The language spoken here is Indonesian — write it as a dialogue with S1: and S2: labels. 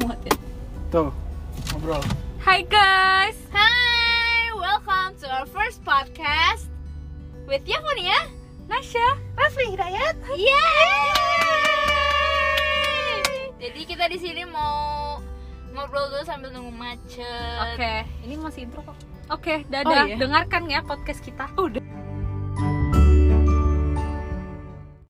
S1: muat ya.
S2: Tuh, ngobrol.
S1: Hai guys.
S3: Hi, welcome to our first podcast with Yafonia,
S1: Nasya.
S3: Rafli Hidayat. Yeay! Jadi kita di sini mau ngobrol dulu sambil nunggu macet.
S1: Oke, ini masih intro kok. Oke, dadah.
S2: Oh, iya.
S1: Dengarkan ya podcast kita. Udah.